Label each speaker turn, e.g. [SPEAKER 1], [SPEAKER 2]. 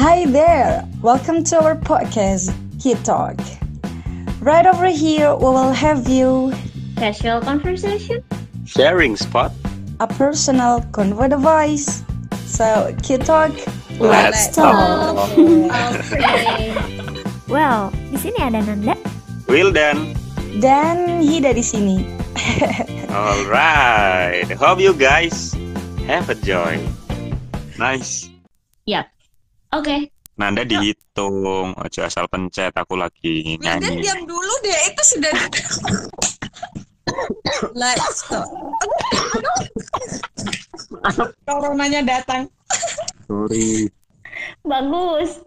[SPEAKER 1] Hi there! Welcome to our podcast, Kid Talk. Right over here, we will have you
[SPEAKER 2] Casual conversation?
[SPEAKER 3] sharing spot.
[SPEAKER 1] a personal convo device. So, Kid Talk,
[SPEAKER 3] Let's
[SPEAKER 1] talk.
[SPEAKER 2] Okay.
[SPEAKER 4] Well, di sini ada Nanda.
[SPEAKER 3] Wildan.
[SPEAKER 1] Dan Hi dari sini.
[SPEAKER 3] All right. Hope you guys have a joy. Nice. Nah,
[SPEAKER 2] Oke.
[SPEAKER 3] Nanda dihitung, aja asal pencet aku lagi
[SPEAKER 5] Wildan
[SPEAKER 3] nyanyi.
[SPEAKER 5] diam dulu deh, itu sudah Let's talk. Coronanya datang.
[SPEAKER 3] Sorry.
[SPEAKER 2] Bagus.